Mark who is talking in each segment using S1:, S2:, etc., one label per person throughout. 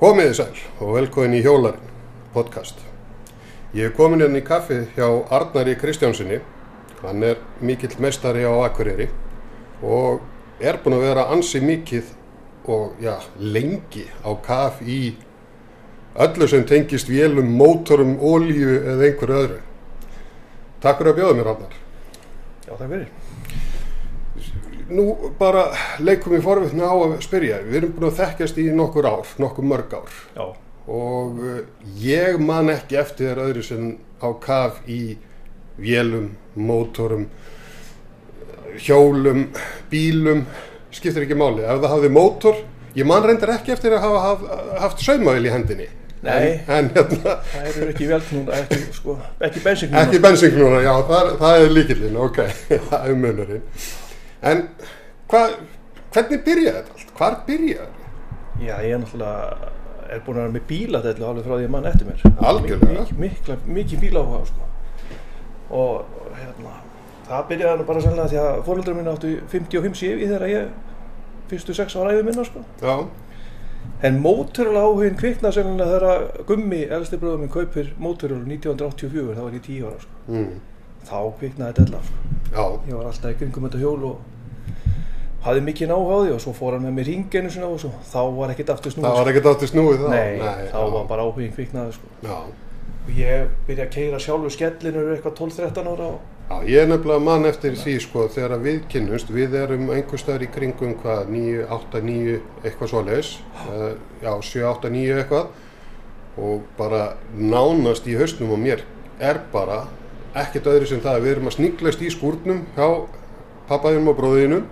S1: Komiði sæl og velkomin í Hjólarinn podcast. Ég er komin hérna í kaffi hjá Arnari Kristjánsinni. Hann er mikill mestari á Akureyri og er búinn að vera ansi mikið og já, lengi á kaff í öllu sem tengist vélum, mótorum, ólíu eða einhverju öðru. Takk fyrir að bjóða mér, Arnar.
S2: Já, takk fyrir.
S1: Nú bara leikum í forvittna á að spyrja. Við erum búin að þekkjast í nokkur ár, nokkur mörg ár.
S2: Já,
S1: og eh, ég man ekki eftir þér öðru sem á kaf í vélum, mótorum, hjólum, bílum, skiptir ekki máli. Ef það hafði mótor, ég man reyndar ekki eftir að hafa haf, haft saumavél í hendinni.
S2: Nei.
S1: En, en hérna,
S2: það eru ekki vel núna, ekki, sko, ekki bensin núna.
S1: ekki bensingnúna, já, það, er- það er líkillinn, ok, það er munurinn. En hva, hvernig byrjaði þetta allt? Hvar byrjaði þetta?
S2: Já, ég er náttúrulega, er búin að vera með bíladellu alveg frá því að mann eftir mér.
S1: Algjörlega.
S2: Mik, mikla, mikið bíláhuga, sko. Og, hérna, það byrjaði nú bara sannlega því að fóröldrar mín áttu 55 séfi þegar ég fyrstu sex ára æfið minna, sko.
S1: Já,
S2: En mótorláhugin kviknaði sannlega þegar að Gummi, elsti bróðum minn, kaupir mótorlólu 1984, þá var ég 10 ára, sko.
S1: mm.
S2: Þá kviknaði della, sko.
S1: já,
S2: ég var alltaf í kringum þetta hjól og hafði mikið náhuga á því og svo fór hann með mér hringinu sinna og svo þá var ekkert aftur snúið
S1: það var ekkert átti snúið þá.
S2: sko. nei, þá
S1: já.
S2: var bara áhugin kviknaði sko.
S1: Já.
S2: og ég byrja að keira sjálfur skellinur eitthvað 12-13 ára og
S1: Já, ég er nefnilega mann eftir því sko þegar að við kynnumst, við erum einhverstaðar í kringum hvað, 9, 8, 9, eitthvað svoleiðis, uh, já, 7, 8, 9 eitthvað og bara nánast í hausnum á mér er bara ekkert öðru sem það að við erum að sniglast í skúrnum hjá pappaðinum og bróðinum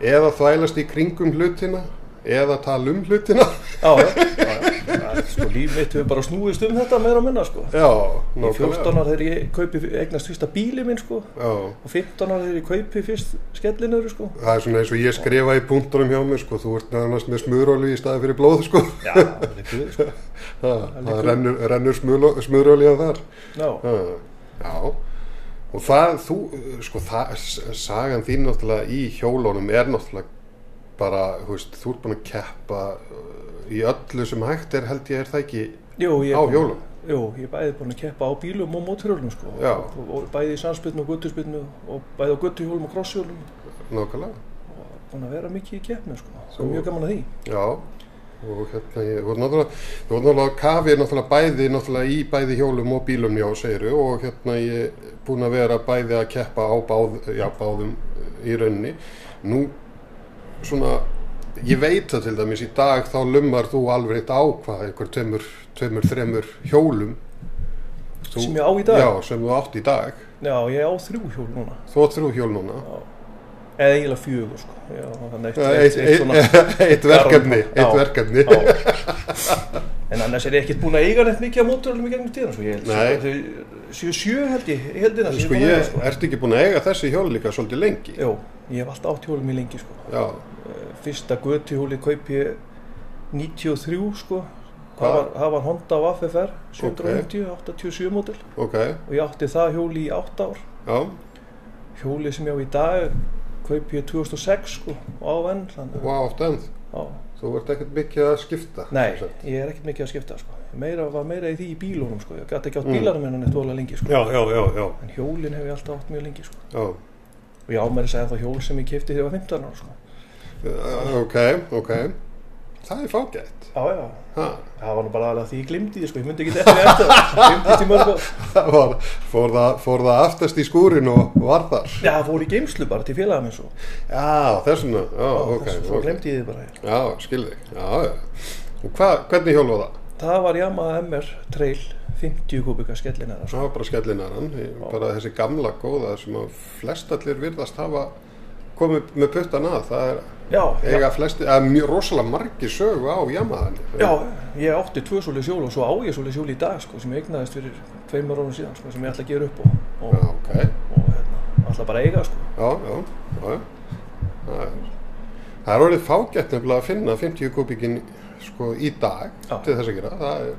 S1: eða þvælast í kringum hlutina eða tala um hlutina.
S2: já, já, já, já, já, sko líf mitt hefur bara snúist um þetta meira og minna sko.
S1: Já,
S2: í 14 ára þegar ég kaupi eignast fyrsta bíli minn sko.
S1: Já.
S2: og 15 ára þegar ég kaupi fyrst skellinur sko.
S1: Það er svona eins og ég skrifa í punktunum hjá mér, sko, þú ert nánast með smurolju í staði fyrir blóð, sko.
S2: já, það er guð sko.
S1: Ha, það
S2: liggur-
S1: rennur, rennur smurolíða þar
S2: já,
S1: ha, já og það, þú, sko það, s- sagan þín náttúrulega í hjólónum er náttúrulega bara, þú veist, þú ert búin að keppa uh, í öllu sem hægt er held ég er það ekki
S2: Jú, ég,
S1: á hjólum
S2: Jú, ég er bæði búin að keppa á bílum og móturhjólum sko.
S1: Já.
S2: Og, og bæði í sannspilnu og guttuspilnu og bæði á guttuhjólum og krosshjólum
S1: nákvæmlega,
S2: og búin að vera mikið í keppni sko. Það
S1: Þú-
S2: er mjög gaman að því.
S1: já og hérna, ég, þú ert náttúrulega þú ert náttúrulega á kafi náttúrulega bæði náttúrulega í bæði hjólum og bílum, já, segiru og hérna ég er búin að vera bæði að keppa á báð, já, báðum í raunni nú svona ég veit það til dæmis í dag þá lummar þú alveg eitt á hvað einhver tveimur, tveimur, þreimur hjólum þú,
S2: Sem ég á í dag?
S1: já, sem þú átt í dag
S2: Já, ég er á þrjú hjól núna.
S1: þú átt þrjú hjól núna
S2: Já. Eða eiginlega fjögur sko. Já, þannig eitt,
S1: eitt, eitt, eitt, verkefni eitt
S2: Já.
S1: verkefni
S2: Já. En annars er ég ekkert búin að eiga neitt mikið á móturhjólum í gegnum tíðan sko. Ég
S1: Nei.
S2: held Sjö- sjö, sjö held ég, ég held ég
S1: sko ég, ertu ekki búin að eiga þessi hjól líka svolítið lengi
S2: Jú, ég hef alltaf átt hjólum í lengi sko.
S1: já,
S2: fyrsta götuhjóli kaup ég 93 sko
S1: Ha?
S2: það var, það var Honda af FFR 750, 87 mótil
S1: ok
S2: og ég átti það hjóli í 8 ár
S1: já,
S2: hjóli sem ég á í dag kaup ég 2006 sko á venn þannig
S1: og átt enn
S2: á.
S1: þú ert ekkert mikið að skipta
S2: nei,
S1: sem sagt.
S2: ég er ekkert mikið að skipta sko meira, var meira í því í bílunum sko ég gæti ekki átt
S1: Mm.
S2: bílarum en hann eitt vola lengi sko
S1: já, já, já, já,
S2: en hjólin hef ég alltaf átt mjög lengi sko
S1: já.
S2: og ég á mér að segja það hjól sem ég kefti þegar ég var 15 ára sko
S1: Uh, ok, ok það er fágætt
S2: já, já,
S1: ha.
S2: það var nú bara aðalega því ég glimti því sko ég myndi ekki eftir eftir það glimtist í mörg ár
S1: Það var, fór, það, fór það aftast í skúrin og var þar
S2: Já, það fór í geimslu bara til félaga minn svo.
S1: Já, þessuna, já, ok,
S2: Þess- Svo
S1: ok.
S2: glemdi ég þið bara.
S1: Já, skilði, já, já Og hva, hvernig hjól var það?
S2: Það var Yamaha MR Trail 50 kubika skellinar. Sko.
S1: Það var bara skellinaran, bara þessi gamla góða sem að flestallir virðast hafa komið með puttan að það er
S2: Já, já,
S1: eiga flesti, að mjög rosalega margi sögu á jamaðan
S2: já, ég átti tvö svoleiðs hjól og svo á ég svoleiðs hjól í dag sko sem ég eignaðist fyrir tveimur árum síðan sko sem ég ætla að gefa upp og,
S1: Já,
S2: og,
S1: ok,
S2: og hérna, ætla bara að eiga sko.
S1: já, já, já, já. Það er, það er orðið fágætt nefnilega að finna 50 kubíkin sko í dag
S2: Já.
S1: til þess að gera, það er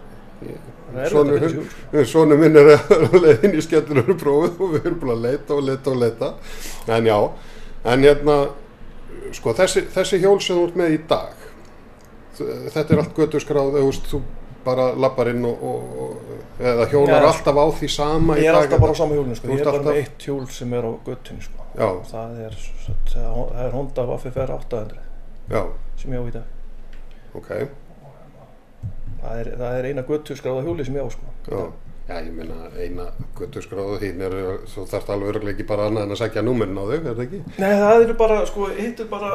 S1: ég,
S2: Það er
S1: Sonur-
S2: erfitt að finna þessi hjól, sko.
S1: Svona minn er að leiðin í skemmtunum prófið og við erum búin að leita og leita og leita. En já, en hérna, sko þessi, þessi hjól sem þú ert með í dag, veist, þetta er allt göturskráð, þú veist, þú bara lappar inn og, og, og eða hjólar
S2: Já.
S1: alltaf á því sama í
S2: Ég er
S1: dag,
S2: alltaf bara á sama hjólinu sko,
S1: Þú
S2: ég
S1: ert
S2: er bara
S1: alltaf-
S2: með eitt hjól sem er á göttunni sko.
S1: Já,
S2: Það er, það er Honda Vaffefær 800
S1: já,
S2: sem ég á í dag.
S1: ok,
S2: Það er, það er eina göttuskráða hjóli sem ég á sko.
S1: já. Já, ég meina eina göturskráðu þín er, þú þarft alveg örglega ekki bara annað en að sækja númerin á þau, er það ekki?
S2: Nei, það eru bara, sko, hitt er bara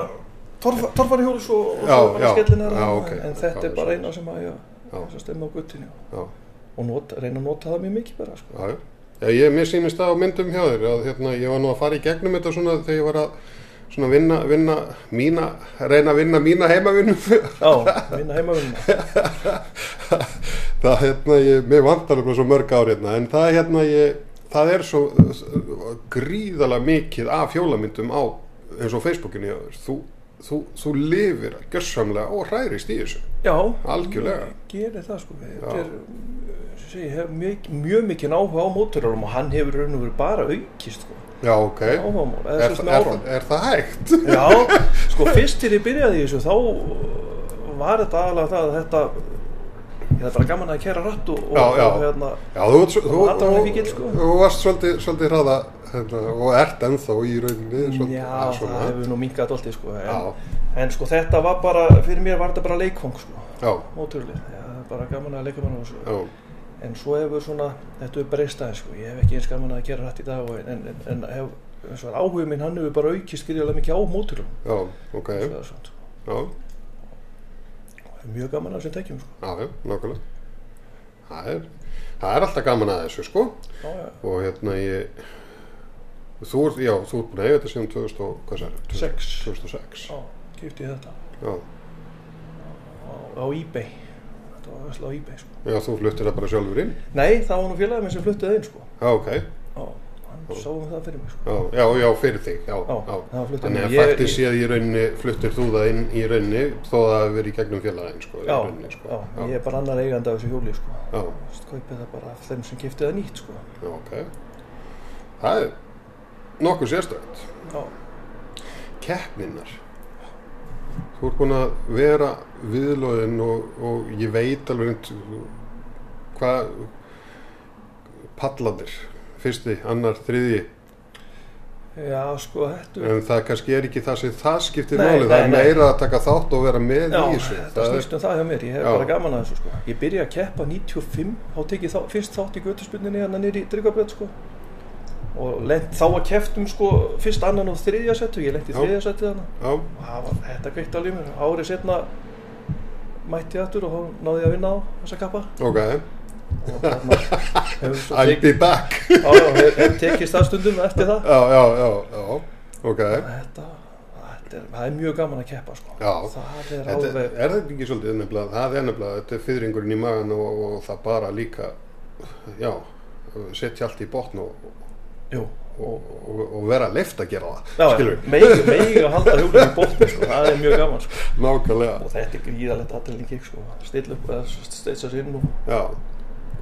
S2: torfa, torfari hjóls og, og
S1: Já,
S2: svo bara
S1: já,
S2: skellinar
S1: já, ok.
S2: en þetta
S1: Já,
S2: er bara
S1: svo-
S2: eina sem að ég
S1: Já.
S2: þess að stemma á guttinu
S1: Já,
S2: og nota, reyna að nota það mjög mikið bara, sko.
S1: já, já. Já, ég mér sýnist það á myndum hjá þér að hérna, ég var nú að fara í gegnum þetta svona þegar ég var að svona vinna, vinna mína, reyna að vinna mína heimavinnu
S2: Já, vinna heimavinna.
S1: það hérna, ég, mér vantar alveg svo mörg ár hérna, en það hérna ég, það er svo uh, gríðalega mikið af hjólamyndum á eins og Facebookinu hjá þér þú, þú, þú lifir gjörsamlega og hrærist í þessu,
S2: Já,
S1: algjörlega
S2: ég gerir það, sko. Þetta
S1: Já.
S2: er, sem sé, ég hef mjög, mjög mikið áhuga á mótorarum og hann hefur raun og verið bara aukist, sko.
S1: já, ok er,
S2: Áhuga á mótorarum, eða
S1: er,
S2: sérst með
S1: er,
S2: árum.
S1: er það hægt?
S2: Já, sko fyrst til ég byrjaði í þessu þá var þetta aðalega það að þetta ég það bara gaman að kæra ratt og, og,
S1: Já, já.
S2: og hérna
S1: Já, þú, þú, þú,
S2: Og Adam er mikill, sko.
S1: þú varst svolítið, svolítið hraða hérna, og ert ennþá í rauninni svolítið,
S2: Já,
S1: svona.
S2: það hefur nú minkað alltaf sko, en,
S1: Já,
S2: en sko þetta var bara, fyrir mér var þetta bara leikfang sko,
S1: já,
S2: móturlið Já, það er bara gaman að leika mann og svo
S1: já,
S2: En svo hefur svona, þetta hefur breyst aðeins sko, ég hef ekki eins gaman að kæra ratt í dag og, en, en, en hef, eins og áhugum minn hann hefur bara aukist gríðarlega mikið á móturlum
S1: já, ok, já,
S2: Það er svona, sko.
S1: já,
S2: Það er mjög gaman að þessum tekjum sko.
S1: já, nákvæmlega. Það er, það er alltaf gaman að þessu, sko,
S2: Já, já.
S1: og hérna ég, þú ert, já, þú ert búin að eiga þetta síðan 2000 og, hvað sér,
S2: Sex.
S1: 2006,
S2: Já, kipti ég þetta
S1: já,
S2: á, á eBay þetta var versla á eBay sko.
S1: já, þú fluttir það bara sjálfur inn,
S2: nei, það var nú félagið minn sem fluttuði inn sko.
S1: já, ok,
S2: já, hann sá um það fyrir mig sko.
S1: já, já, já, fyrir þig, já,
S2: já, það fluttuði
S1: Þannig að faktið séð í rauninni, fluttir þú það inn í rauninni þó að það hefur verið í gegnum félagin, sko, í
S2: já,
S1: rauninni, sko.
S2: já, ég er bara annar eigandi af þessu hjóli sko.
S1: Já,
S2: Þú veist, kaupið það bara af þeim sem kiptið það nýtt sko.
S1: já, ok. Það er nokkuð sérstönd.
S2: já,
S1: Keppninnar. Þú ert búin að vera viðlóðin og, og ég veit alveg reynd hvað palladir, fyrsti, annar, þriðji,
S2: já, sko, þetta
S1: en það kannski er ekki það sem það skiptir
S2: Nei,
S1: máli, það
S2: nei,
S1: er
S2: nei.
S1: meira að taka þátt og vera með
S2: Já,
S1: í þessu.
S2: þetta
S1: sko. Það er-
S2: snýst um það hjá mér, ég hef
S1: Já.
S2: bara gaman að þessu sko. Ég byrja að keppa 95, þá tek ég þá, fyrst þátt í göttuspunninni hérna niður í Dryggaböld sko. Og lent þá að keftum sko, fyrst annan og þriðja settu, ég lent í
S1: Já.
S2: þriðja settu þarna.
S1: Já,
S2: Og það var, þetta kveikt alveg í mér, árið setna mætti ég aftur og þá náði ég að vinna á þessa kappa.
S1: ok,
S2: Og þarna hefur svo
S1: I'll
S2: tekið,
S1: be back.
S2: á, hef, hef tekist það stundum eftir það.
S1: já, já, já, já, ok
S2: Þetta, þetta er, það er mjög gaman að keppa sko.
S1: Já.
S2: Það er
S1: þetta,
S2: alveg,
S1: er þetta ekki svolítið nefnilega það er nefnilega, þetta er fyrringurinn í magan og, og það bara líka já, setja allt í botn og,
S2: jú, og
S1: og, og, og vera leift að gera það
S2: Já,
S1: skilur við,
S2: megi, megi að halda hjólum í bóttum sko, það er mjög gaman sko.
S1: nákvæmlega
S2: og þetta er gríðalegt aðtælning gig sko. stilla upp eða steitsa sér inn og,
S1: já,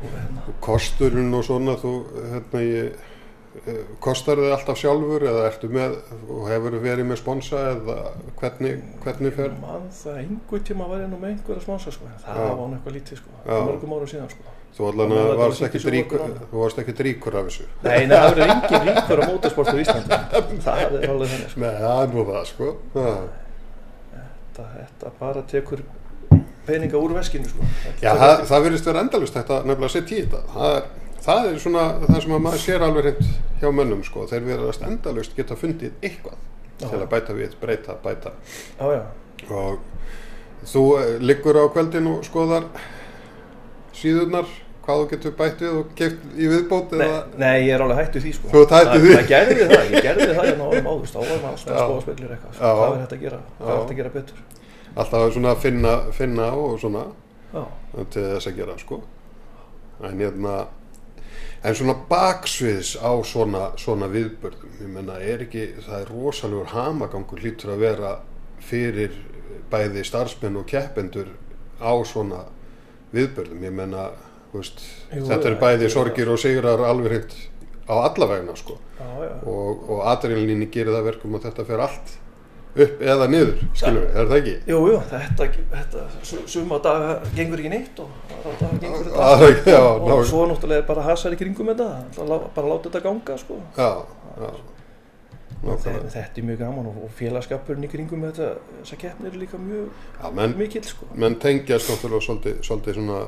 S2: og hérna
S1: og kosturinn og svona þú, hérna ég eh, kostar þið alltaf sjálfur eða ertu með og hefur verið með sponsa eða hvernig, hvernig fer
S2: mann það einhver tíma var ég nú með einhverja sponsa sko. en það
S1: Já.
S2: var nú eitthvað lítið sko.
S1: Já.
S2: mörgum árum síðan sko.
S1: þú allan
S2: Maður
S1: að
S2: var
S1: varst
S2: bara
S1: ekki
S2: sýnt í
S1: ríkur
S2: sjónvarpinu.
S1: þú varst ekki ríkur af þessu
S2: nei, nei, það verður engin ríkur á mótorsport á Íslandi það er alveg þannig sko.
S1: Nei, það er nú það sko já.
S2: þetta, þetta bara tekur peninga úr veskinu sko. Þetta
S1: Já,
S2: tekur
S1: það, það verðist vera endalust þetta nefnilega að setja í þetta. Það er, það er svona það sem að maður sér alveg hreint hjá mönnum sko. Þeir verðast endalust geta fundið eitthvað
S2: Já.
S1: til að bæta við, breyta, bæta.
S2: eftir- já, já,
S1: Og þú eh, liggur á kveldin og skoðar síðurnar, hvað þú getur bætt við og keft í viðbót
S2: Nei,
S1: eða...
S2: nei, ég er alveg hættu því sko.
S1: Þú ert hættur
S2: Það-
S1: því?
S2: Það gerði það, ég gerði það hérna árum áður þá var maður alltaf að
S1: Já.
S2: skoða spillir eitthvað sko.
S1: Já.
S2: hvað er hægt að gera, hvað
S1: Já.
S2: er hægt að gera betur
S1: Alltaf svona að finna, finna og svona
S2: Já,
S1: til þess að gera sko. En hérna... En svona baksviðs á svona, svona viðbörðum, ég menna, er ekki, það er rosalegur hamagangur hlýtur að vera fyrir bæði starfsmenn og keppendur á svona viðbörðum, ég menna, veist,
S2: Jú,
S1: þetta er
S2: já,
S1: bæði
S2: já.
S1: sorgir og sigrar alveg hreint á alla vegna, sko,
S2: já, já,
S1: og, og adrenalinni gerir það verkum og þetta fer allt upp eða niður, skilum við, er það ekki?
S2: Jú, jú, þetta, þetta su- suma daga gengur ekki neitt og aðra daga gengur þetta
S1: Ah,
S2: allt.
S1: já,
S2: og,
S1: ná-
S2: og svo náttúrulega bara hasar í kringum þetta, alltaf lá- bara láta þetta ganga sko.
S1: Já, já,
S2: Þetta,
S1: nákvæmlega.
S2: þetta er mjög gaman og, og félagskapurinn í kringum þetta, þessa keppni er líka mjög
S1: Já, menn,
S2: mikill sko.
S1: menn tengjast náttúrulega svolítið, svolítið svona,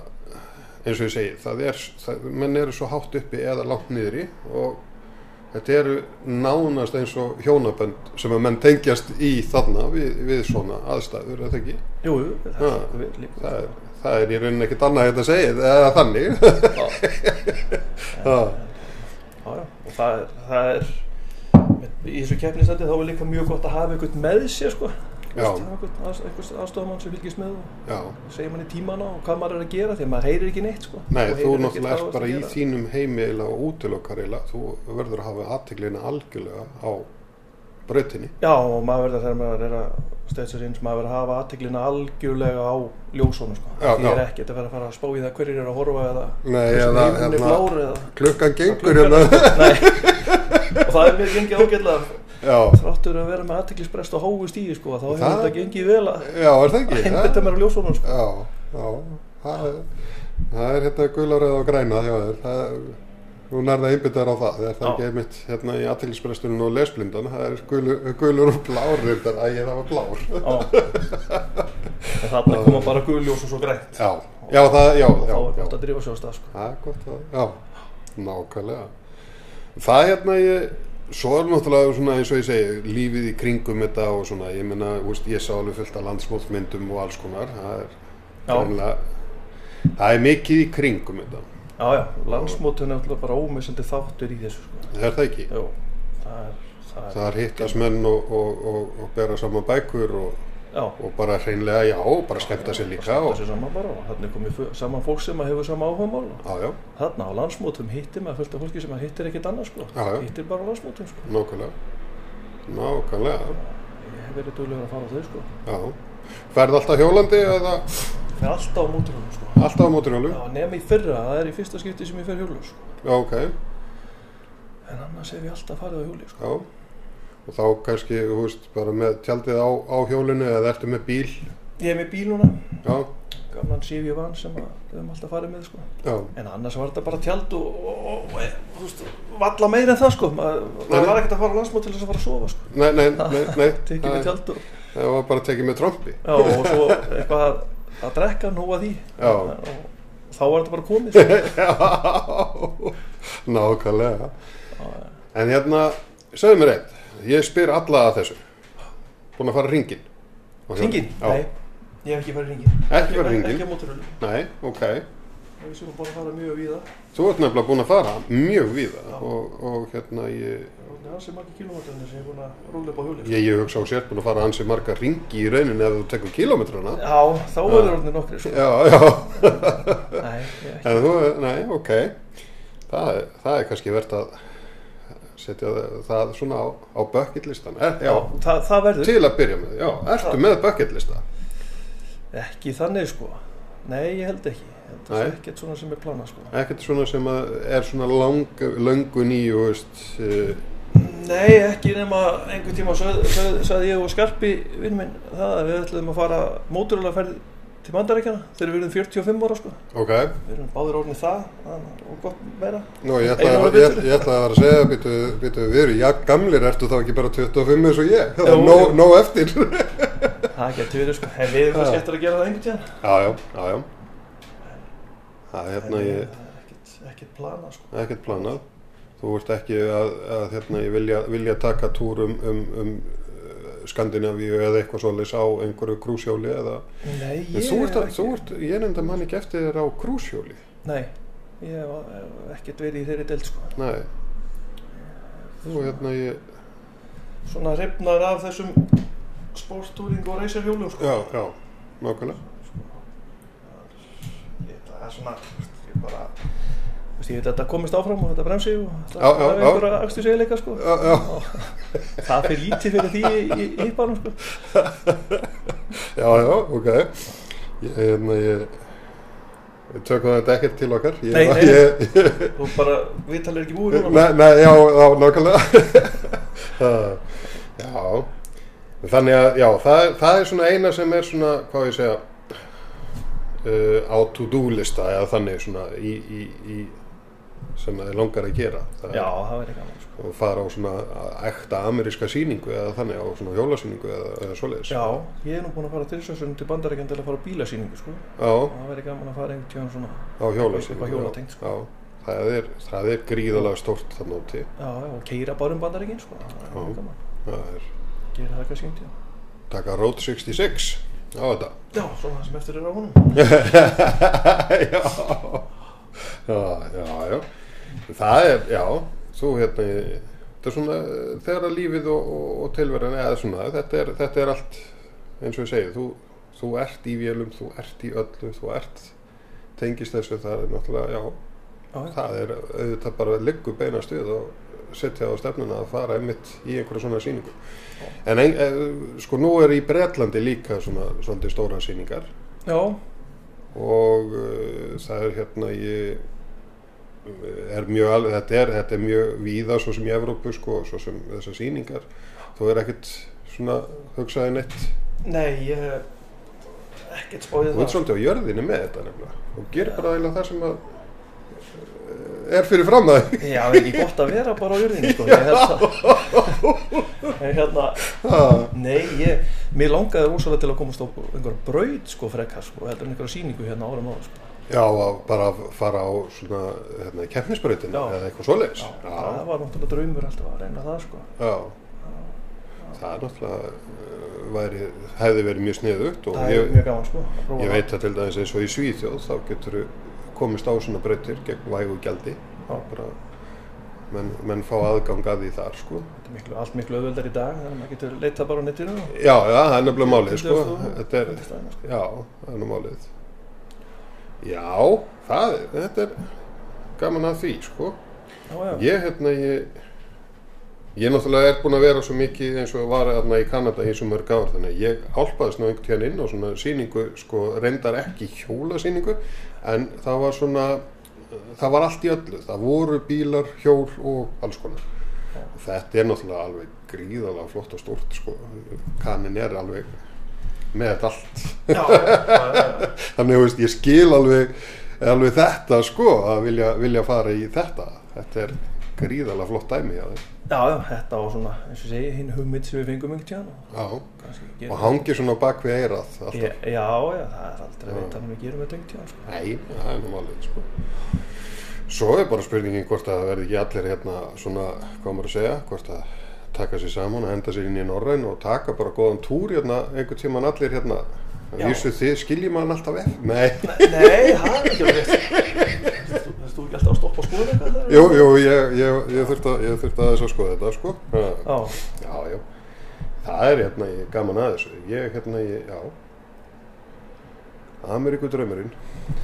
S1: eins og ég segi, það er, það, menn eru svo hátt uppi eða langt niður í og þetta eru nánast eins og hjónabönd sem að menn tengjast í þarna við, við svona aðstæður, er það ekki?
S2: Jú, jú, það
S1: Já,
S2: er líka vel líka.
S1: Það er, það er í rauninni ekkert annað þetta að segja, eða þannig.
S2: Já,
S1: Já,
S2: já, já, og það er, það er í þessu keppnistandi þá er líka mjög gott að hafa einhvern með sér sko.
S1: Já.
S2: Þú veist, hafa einhvern aðs- einhvers aðstofamann sem fylgist með og
S1: já.
S2: segja manni tímana og hvað maður er að gera því að maður heyrir ekki neitt sko.
S1: Nei,
S2: Og
S1: þú
S2: heyrir
S1: náttúrulega
S2: ekkert hvað þú
S1: ert bara
S2: að
S1: í
S2: gera.
S1: þínum heimi eiginlega og útilokkar eiginlega. Þú verður að hafa aðteglina algjörlega á brautinni.
S2: Já, og maður verður þegar maður er að stöðsa sér inn, maður verður að hafa aðteglina algjörlega á ljósónu, sko.
S1: Já,
S2: Því er
S1: já.
S2: ekkert að vera að fara að spá í það hverjir eru að horfa eða
S1: Nei,
S2: hversu
S1: eða,
S2: himinn er
S1: hérna,
S2: blár eða...
S1: klukkan gengur hérna.
S2: Nei, og það er mér gengið ágætlega
S1: Já,
S2: þráttur að vera með aðteglisbrest og hógu stíði, sko, þá hefur
S1: Það-
S2: þetta gengið vel að
S1: já, er það ekki?
S2: einbetta mér á ljósónu, sko.
S1: Já, já, það er, það er hérna gularöð og græna hjá þér. Það er, nú nærða einbyttar á það, það er það
S2: Já.
S1: ekki einmitt hérna í aðteglisbrestunum og lesblindan, það er gulur, gulur og blár, þetta að ég það var blár.
S2: Já. En þarna koma bara guðljós og svo grænt.
S1: Já, já, það, já,
S2: Þá
S1: já,
S2: er
S1: já.
S2: gott að drífa sjóðstað, sko.
S1: Það er gott að, já, nákvæmlega. Það hérna ég, svo er náttúrulega svona eins og ég segi, lífið í kringum þetta og svona, ég meina, þú veist, ég sá alveg fullt af landsmótmyndum og alls konar, það er
S2: Já.
S1: greinlega, það er mikið í kringum þetta,
S2: Já, já, landsmótun er alltaf bara ómissandi þáttur í þessu, sko.
S1: það er það ekki?
S2: Jú, það er, það er,
S1: Það er hittast menn og, og, og, og bera saman bækur og,
S2: já.
S1: og bara hreinlega, já, bara skemmta sér líka
S2: og
S1: og,
S2: þessi saman bara og þannig komið fu- saman fólk sem að hefur sama áhugamál og
S1: já, já,
S2: þarna á landsmótum hittir maður fullt af fólki sem að hittir ekkert annað sko
S1: Já, já.
S2: hittir bara á landsmótum sko
S1: nákvæmlega, nákvæmlega,
S2: ég hef verið duglegur að fara á þau sko
S1: já. Færð alltaf hjólandi eða
S2: fer alltaf á móturhjólum sko
S1: alltaf á móturhjólu?
S2: já, nema í fyrra, það er í fyrsta skipti sem ég fer hjólum sko
S1: Já, ok.
S2: en annars hef ég alltaf farið á hjóli sko
S1: Já, og þá kannski, þú veist, bara með tjaldið á, á hjólinu eða ertu með bíl.
S2: ég hef með bíl núna,
S1: Já,
S2: gamlan Sivi Van sem að við höfum alltaf farið með sko
S1: já,
S2: en annars var þetta bara tjald og, og, og, og þú veist, valla meira en það sko maður
S1: Nei.
S2: maður var ekkert að fara á landsmót til þess að fara að sofa sko
S1: nei, nei, nei, nei,
S2: tekið með
S1: það,
S2: tjald og
S1: það var bara tekið með trompi.
S2: Já, og svo eitthvað að, að drekka, nóa því.
S1: Já.
S2: Og þá var þetta bara komið. sko.
S1: Já, nákvæmlega. En hérna, segðu mér eitt, ég spyr alla að þessu. Búin að fara ringin.
S2: Hringinn?
S1: Já,
S2: Nei, ég hef ekki farið hringin.
S1: Ekki farið hringinn?
S2: Ekki á móturhullu.
S1: nei, ok.
S2: Við séum búin að fara mjög víða.
S1: Þú ert nefnilega búin að fara mjög víða
S2: Já.
S1: og, og hérna, ég,
S2: Það er alveg margir kilómetrarnir sem ég er búin að rúla upp á sko. hjóli.
S1: ég, ég hugsa á sér búin að fara ansi marga ringi í rauninni ef þú tekur kilometrana.
S2: Já, þá verður orðinir nokkri. Sko.
S1: Já, já.
S2: Nei, ég hef ekki.
S1: En þú, nei, ok, það, er- það er kannski verðt að setja það- það svona á, á bucketlistan. Er, já,
S2: það, það verður.
S1: til að byrja með, já, ertu með bucketlista?
S2: Ekki þannig, sko. Nei, ég held ekki. Þetta
S1: Nei.
S2: er ekkert svona sem er planað, sko.
S1: Ekkert svona sem að er svona lang, löngun í, þú veist, uh,
S2: Nei, ekki nema einhver tíma sagði söð, söð, ég og Skarpi vinn minn það að við ætlum að fara móturhjólaferð til Bandaríkjana þegar við erum 45 ára sko.
S1: ok,
S2: Við erum báðir orðin það þannig- og gott meira.
S1: nú ég
S2: Einu
S1: ætlaði
S2: ári
S1: að, ég, ég ætlaði að vera að segja, býtu, býtu við erum, já, gamlir ertu þá ekki bara 25 eins og ég, það
S2: Jú,
S1: er nóg-
S2: jú.
S1: nóg eftir.
S2: Það getur verið sko. En við erum kannski eftir að gera það einhvern tíðan.
S1: Já, já, já, já, það er hérna ég...
S2: eh, Ekkert, ekkert plana sko.
S1: ekkert planað þú ert ekki að, að hérna, ég vilja, vilja taka túr um, um, um eh, Skandinavíu eða eitthvað svoleiðis á einhverju krúsjóli eða
S2: Nei, ég
S1: en þú ert,
S2: hef
S1: að, þú ert, ég nefndi mann ekki eftir þér á krúsjóli
S2: Nei, ég hef hef ekkert verið í þeirri deild sko.
S1: nei þú hérna ég
S2: Svona hrifnar af þessum sporttúring og reyserhjólum sko.
S1: já, já, nákvæmlega
S2: Ég- það er svona ég bara þú veist, ég veit að þetta komist áfram og þetta bremsi og
S1: Já, já,
S2: þetta er
S1: já.
S2: einhverja axtu segjuleika sko.
S1: já, já,
S2: það fyrir lítið fyrir því í- í hýpanum sko.
S1: já, já, ok ég hérna ég Við tökum þetta ekkert til okkar. Ég,
S2: Nei, nei.
S1: Ég, ég,
S2: þú bara, við talir ekki búið núna
S1: nei, nei, já, já, nákvæmlega. Það- já, Þannig að, já, það, er- það er svona eina sem er svona, hvað á ég að segja, uh, á to-do lista eða þannig svona í, í, í sem að þið langar að gera. Það er-
S2: Já, það verður gaman sko.
S1: Og fara á svona ekta ameríska sýningu eða þannig, á svona hjólasýningu eða, eða svoleiðis.
S2: Já, ég er nú búin að fara til þessu til bandarækjan til að fara á bílasýningu sko.
S1: Já,
S2: Það verður gaman að fara einhvern tíðan svona
S1: á hjólasýningu.
S2: Eitthvað hjólatengt, sko.
S1: Já, það er, það er gríðalega stórt þannig úti.
S2: Já, já, og keira bara um bandarækjan sko. Það
S1: Já.
S2: verður gaman
S1: Það er
S2: Gera það kannski um tíðan
S1: taka Road 66 á þetta.
S2: Já, svona það sem eftir er á honum
S1: já. já, já, já. Það er, já, þú hérna, þetta er svona eh, þegar að lífið og, og, og tilverjan eða svona, þetta er, þetta er allt, eins og ég segi, þú, þú ert í vélum, þú ert í öllu, þú ert, tengist þessu, það er náttúrulega, já,
S2: Já, já.
S1: það er auðvitað bara liggur beina stuð og setja á stefnuna að fara einmitt í einhverja svona sýningu. En ein, eh, sko nú er í Bretlandi líka svona svolítið stóra sýningar
S2: já,
S1: og uh, það er hérna ég uh, er mjög alveg, þetta er, þetta er mjög víða svo sem í Evrópu sko, svo sem þessar sýningar þú er ekkert svona hugsaði neitt
S2: nei, ég hef ekkert spáðið
S1: og
S2: það
S1: þú ert
S2: sko.
S1: svolítið á jörðinni með þetta nefnilega og gerir bara eiginlega það sem að eh, er fyrir fram að
S2: Já, það er ekki gott að vera bara á jörðinni sko. Ég held það En hérna,
S1: það
S2: nei, ég Mér langaði rosalega til að komast á einhverja braut sko frekar sko, heldur en einhverja sýningu hérna árum áður sko.
S1: já, að bara að fara á svona, hérna, keppnisbrautin
S2: Já.
S1: eða eitthvað svoleiðis
S2: Já,
S1: já,
S2: það var náttúrulega draumur alltaf að reyna það sko
S1: já. það er náttúrulega eh, væri, hefði verið mjög sniðugt og
S2: Það
S1: ég-
S2: er mjög gaman sko að prófa
S1: Ég
S2: það.
S1: veit að til dæmis eins og í Svíþjóð þá getur komist á svona breytir gegn vægu gjaldi
S2: Já.
S1: bara menn, menn fá aðgang að því þar sko
S2: Þetta er miklu, allt miklu auðveldar í dag þannig að maður getur leitað bara á netinu og
S1: Já, já, það er nefnilega málið sko
S2: Þetta er-
S1: Þetta er,
S2: fundið staðina, sko.
S1: já, það er nú málið Já, það, er- þetta er gaman að því sko
S2: Já, já,
S1: Ég, hérna, ég Ég náttúrulega er búinn að vera svo mikið eins og var þarna í Kanada í svo mörg ár þannig að ég álpaðist nú einhvern tíðan inn á svona sýningu, sko, reyndar ekki hjólasýningu en það var svona, það var allt í öllu það voru bílar, hjól og alls konar þetta er náttúrulega alveg gríðalega flott og stórt sko, kanin er alveg með þetta allt
S2: já, já, já, já.
S1: þannig að ég skil alveg, alveg þetta sko að vilja, vilja fara í þetta þetta er gríðalega flott dæmi já,
S2: já, já, þetta var svona, eins og ég segi, hinn hugmynd sem við fengum einhvern tíðan og
S1: já.
S2: kannski
S1: og
S2: gerum
S1: hangi svona bak við eirað alltaf.
S2: Ég- Já, já, það er aldrei að vita hann við gerum þetta einhvern tíðan sko.
S1: nei, það er nú málið sko svo er bara spurningin hvort að það verði ekki allir hérna svona, hvað maður að segja hvort að taka sér saman og henda sér inn í norræn og taka bara góðan túr hérna einhvern tíman allir hérna
S2: Já.
S1: vísu þið skiljið maður alltaf vel nei,
S2: Nei, það er ekki alveg rétt Þú ekki alltaf að stoppa að skoða eitthvað þar?
S1: jú, jú, ég, ég, ég þurfti að, ég þurfti að þess að skoða þetta sko já.
S2: Já,
S1: Já, já. Það er hérna, ég gaman að þessu. Ég hérna, ég, já. Ameríku draumurinn.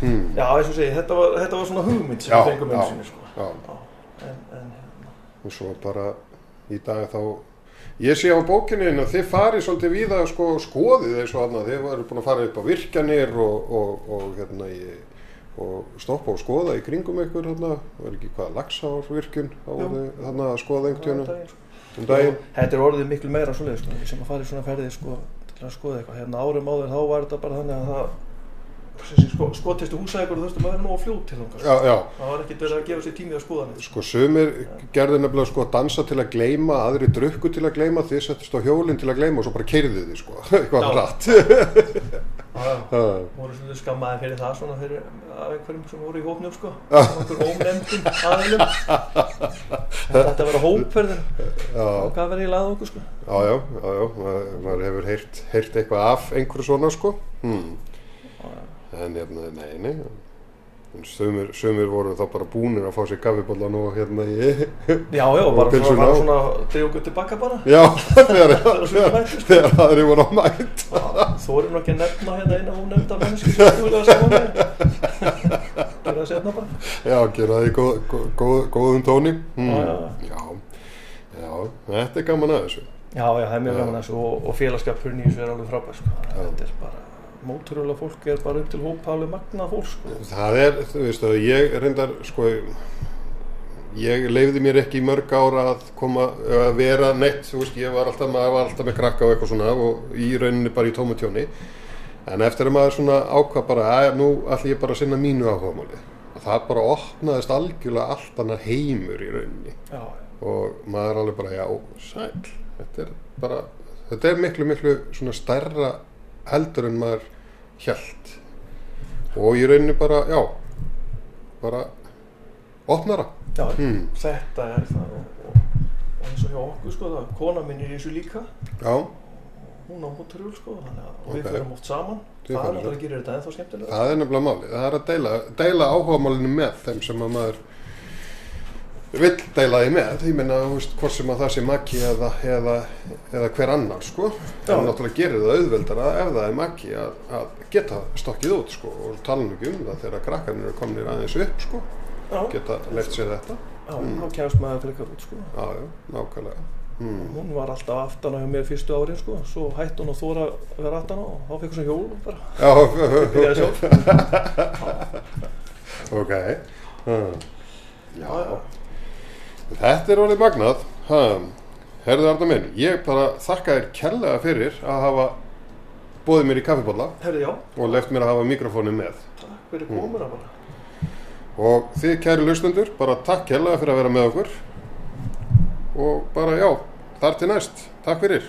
S1: Hmm.
S2: já, eins og segi, þetta var, þetta var svona hugmynd sem
S1: Já,
S2: við fengum
S1: já.
S2: einu sinni sko.
S1: Já,
S2: Já, en, en, hérna,
S1: og svo bara í dag þá, ég sé á bókinu einu að þið farið svolítið víða sko skoðið eins og annað. Þið varu búin að fara upp á virkjanir og, og, og hérna, ég, og stoppa og skoða í kringum ykkur hérna, var ekki hvað, lagsárvirkjun á
S2: Jú.
S1: þarna að skoða
S2: hvað er
S1: einhvern
S2: þetta?
S1: tíðan um daginn.
S2: sko. Þetta er orðið miklu meira svoleið sko, sem að fara í svona ferðir sko, til að skoða eitthvað. Hérna árum áður þá var þetta bara þannig að það sem sé, sko, skotist í húsækur og þurftum að vera nóg á fljót til þangar. Sko.
S1: Já, já.
S2: Það var ekkert verið að gefa sér tími að skoða neitt.
S1: Sko sumir gerðu nefnilega sko að dansa til að gleyma, aðri drukku til að gleyma, þið settist á hjólinn til að gleyma og svo bara keyrðu þið sko, eitthvað
S2: Já.
S1: hratt.
S2: Það
S1: Ha.
S2: voru svolítið skammaði fyrir það svona fyrir af einhverjum sem voru í hópnum sko. Okkur ómnefndum aðilum. Þetta ætti að vera hópferðin.
S1: Já,
S2: Og hvað verið í lað okkur sko.
S1: já, já, já, já, ma- maður hefur heyrt, heyrt eitthvað af einhverju svona sko. Hmm. En hérna, nei, nei, en sumir, sumir voru þá bara búnir að fá sér gafibólan og hérna ég,
S2: Já, já,
S1: Og
S2: bara
S1: pilsur
S2: svona, bara
S1: ná.
S2: svona dríu okkur tilbaka bara.
S1: já, þegar,
S2: Það er svona
S1: þegar,
S2: mættur.
S1: þegar aðri voru á mætt.
S2: Þú sko. erum ekki að nefna hérna eina ónefnda mennski sem þú vilja að segja með Gjör það setna bara
S1: Já, gera því góð, góð, góð, góðum tóni. Hmm.
S2: Já, já,
S1: já, já, þetta er gaman að þessu.
S2: Já, já, það er mjög gaman þessu og, og félagskapurinn í þessu er alveg frábær sko. Þetta er bara, móturulega fólk er bara upp til hópa alveg magnað fólk sko.
S1: Það er, þú veist að ég reyndar sko ég leiði mér ekki í mörg ára að koma, að vera neitt, þú veist, ég var alltaf, maður var alltaf með krakka og eitthvað svona og í rauninni bara í tómutjóni en eftir að maður svona ákvað bara að nú ætlum ég bara að sinna mínu áhugamáli og það bara opnaðist algjörlega allt annar heimur í rauninni
S2: já,
S1: og maður alveg bara, já, sæl þetta er bara, þetta er miklu, miklu svona stærra heldur en maður hjælt og í rauninni bara, já bara opnara
S2: já
S1: hmm.
S2: þetta er það og, og, og eins og hjá okkur sko, það, kona minn er í þessu líka
S1: já,
S2: hún á móturhjól sko, þannig að og
S1: Ok.
S2: við förum oft saman
S1: Þið farið
S2: það er alltaf
S1: saman.
S2: að gera þetta ennþá skemmtilega
S1: það er nefnilega máli það er að deila, deila áhugamálinu með þeim sem að maður vill deila því með ég meina, þú veist, hvort sem að það sé maki eða, eða, eða hver annar sko
S2: Já.
S1: en náttúrulega gerir það auðveldara ef það er maki að, að geta stokkið út sko og tala nú ekki um það þegar krakkarnir eru komnir aðeins upp sko
S2: já,
S1: geta leitt sér þetta
S2: já, þá kemst maður frekar út sko
S1: já, já, nákvæmlega hmm.
S2: hún var alltaf aftan á mér fyrstu árin sko, svo hætti hún að þóra að vera aftan á og þá fekk hún svo hjól og bara byrjaði
S1: já,
S2: sjálf
S1: ok hmm. já,
S2: Já, já.
S1: Þetta er orðið magnað. Ha, herðu Arna minn, ég bara þakka þér kærlega fyrir að hafa bóðið mér í kaffibólla
S2: herði já,
S1: og left mér að hafa mikrofónu með.
S2: takk fyrir komuna bara
S1: Og þið kæri lausnendur, bara takk kærlega fyrir að vera með okkur. Og bara já, þar til næst. Takk fyrir.